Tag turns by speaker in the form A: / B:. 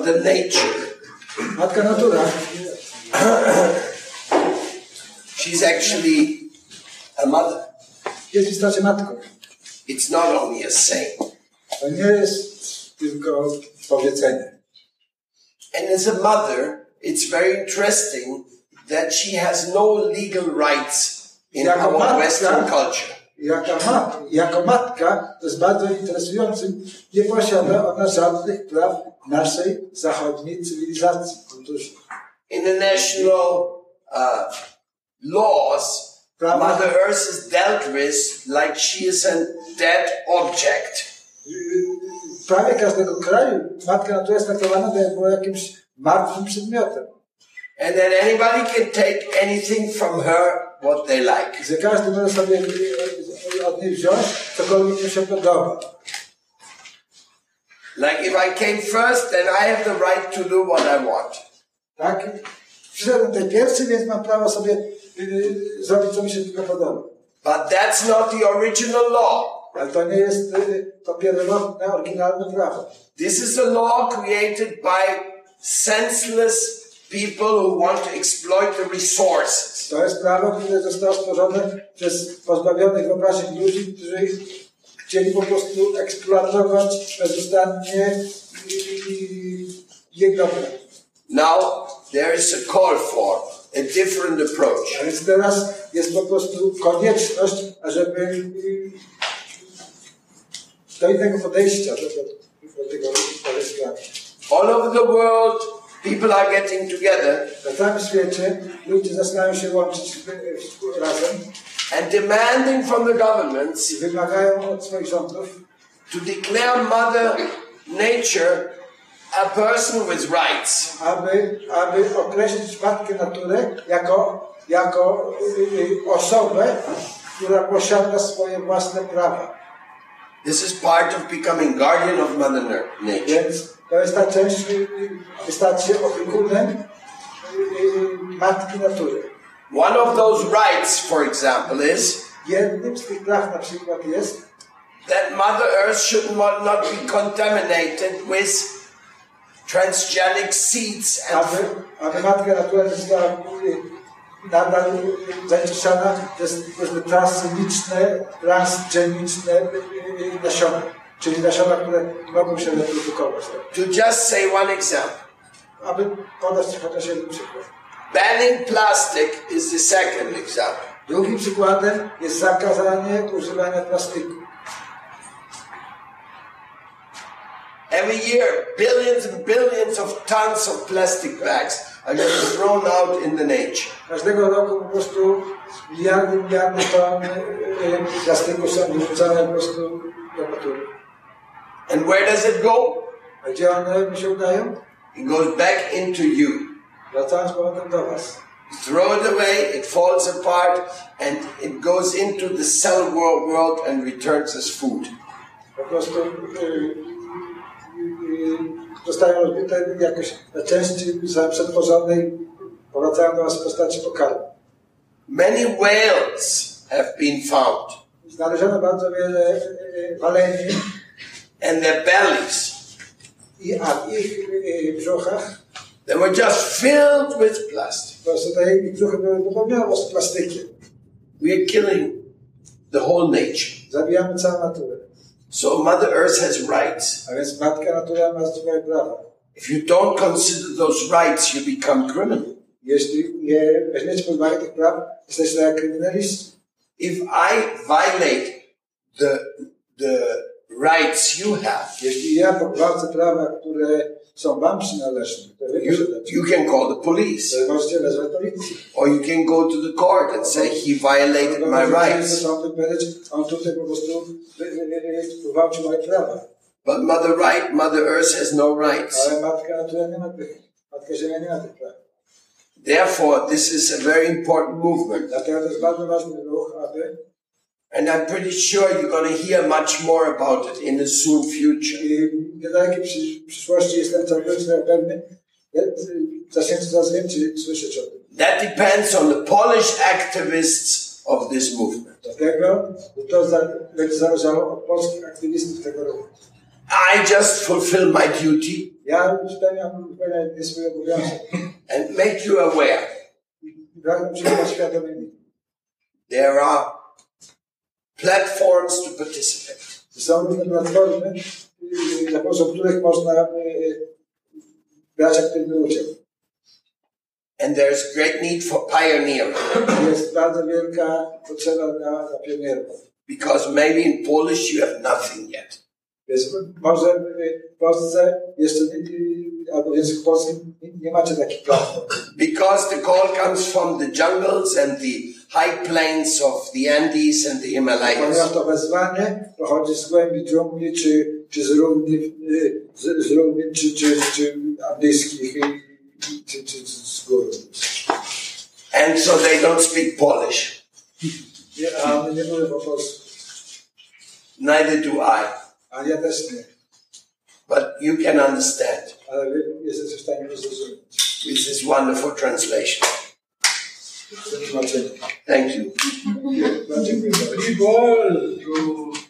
A: nature.
B: Matka natura.
A: She's actually a mother.
B: Jest w istocie matką.
A: It's not only a saying.
B: To nie jest tylko powiedzenie.
A: And as a mother, it's very interesting that she has no legal rights in
B: Jako
A: our
B: matka-
A: Western culture.
B: Jaka mat, jako matka, to jest bardzo interesujące, nie posiada ona żadnych praw naszej zachodniej cywilizacji. Otóż
A: International uh, laws,
B: Brahma-
A: Mother Earth is dealt with like she is a dead object.
B: w prawie każdego kraju matka natura jest traktowana jako jakimś martwym przedmiotem.
A: And then anybody can take anything from her what they like.
B: że każdy może sobie od niej wziąć, cokolwiek mu się podoba.
A: Like if I came first, then I have the right to do what I want.
B: Tak? Przyszedłem tutaj pierwszy, więc mam prawo sobie y, zrobić, co mi się tylko podoba.
A: But that's not the original law.
B: Ale to nie jest y, to pierwotne, oryginalne prawo.
A: This is a law created by senseless people who want to exploit the resources.
B: To jest prawo, które zostało stworzone przez pozbawionych wyobraźni ludzi, którzy chcieli po prostu eksploatować bezustannie y, y, jej dobra.
A: Now there is a call for a different approach.
B: A więc teraz jest po prostu konieczność, ażeby y, do innego podejścia do, do, do tego, do tej sprawy.
A: All over the world, people are getting together
B: Na całym świecie ludzie zaczynają się łączyć y, y, razem
A: and demanding from the governments
B: i wymagają od swoich rządów,
A: to declare Mother Nature a person with rights.
B: aby, aby określić matkę naturę jako, jako y, y, osobę, która posiada swoje własne prawa.
A: This is part of becoming guardian of Mother Ner- Nature.
B: Więc to jest ta część, y, y, stać się opiekunem y, y, matki natury.
A: One of those rights, for example, is
B: Jednym z tych praw na przykład jest,
A: that Mother Earth should not, not be contaminated with transgenic seeds
B: aby,
A: and
B: aby matka natura nie została y, nadal y, zanieczyszczana przez różne transgeniczne, transgeniczne y, y, nasiona, czyli nasiona, które mogą się reprodukować.
A: to just say one example.
B: Aby podać chociaż jeden przykład.
A: Banning plastic is the second example.
B: Drugim przykładem jest zakazanie używania plastiku.
A: Every year, billions and billions of tons of plastic bags are getting thrown out in the nature.
B: Każdego roku po prostu miliardy, miliardy ton y, y, plastiku są wyrzucane po prostu do natury.
A: And where does it go?
B: A gdzie one mi się udają?
A: It goes back into you.
B: Wracając z powrotem do Was.
A: throw it away, it falls apart, and it goes into the cell world, world and returns as food.
B: Po prostu y, y, y, zostają rozbite jakoś na części za- przetworzonej, powracają do Was w postaci pokarmu.
A: Many whales have been found,
B: Znaleziono bardzo wiele y, y, waleni
A: and their bellies,
B: i a w ich y, y, brzuchach,
A: they were just filled with plastic.
B: po prostu te ich brzuchy były wypełnione z plastikiem.
A: We are killing the whole nature.
B: Zabijamy całą naturę.
A: So Mother Earth has rights.
B: A więc matka natura ma swoje prawa.
A: If you don't consider those rights, you become criminal.
B: Jeśli nie weźmiecie pod uwagę tych praw, jesteście jak kryminaliści.
A: If I violate the the rights you have,
B: Jeśli ja pogwałcę prawa, które są wam przynależne, to wy
A: you,
B: posiadacie,
A: you can call the police.
B: to możecie wezwać policję.
A: Or you can go to the court and say he violated my rights.
B: Sądy powiedzieć, on tutaj po prostu y, y, y, pogwałcił moje prawa.
A: But Mother Right, Mother Earth has no rights.
B: Ale matka natura nie ma tych, matka ziemia nie ma tych praw.
A: Therefore, this is a very important movement.
B: Dlatego to jest bardzo ważny ruch, aby
A: And I'm pretty sure you're going to hear much more about it in the soon future.
B: i w niedalekiej przysz- przyszłości jestem całkowicie pewny, y, że zaczniecie coraz więcej słyszeć o tym.
A: That depends on the Polish activists of this movement.
B: Dlatego że to za- będzie zależało od polskich aktywistów tego roku.
A: I just fulfill my duty
B: Ja spełniam, spełniam nie swój obowiązek.
A: and make you aware
B: Pragnę przyjmować świadomymi.
A: there are platforms to participate.
B: Są różne platformy, y, za pomocą których można y, y, brać aktywny udział.
A: And there's great need for pioneering
B: Jest bardzo wielka potrzeba dla, dla pionierów.
A: because maybe in Polish you have nothing yet.
B: Więc może y, w Polsce jeszcze, nie- y, albo w języku polskim nie- nie macie takich platform.
A: Because the call comes from the jungles and the high plains of the Andes and the
B: Ponieważ
A: Himalayas.
B: to wezwanie pochodzi z głębi dżungli, czy, czy z równin, y, z, z równin czy, czy, czy andyjskich, y, y, czy, czy, czy z gór.
A: And so they don't speak Polish.
B: Nie, a my nie mówimy po polsku,
A: Neither do I.
B: a ja też nie,
A: But you can understand
B: ale wy jesteście w stanie to zrozumieć.
A: with this wonderful translation.
B: To tłumaczenie.
A: Thank you.
B: Dziękuję bardzo.
C: Free ball, you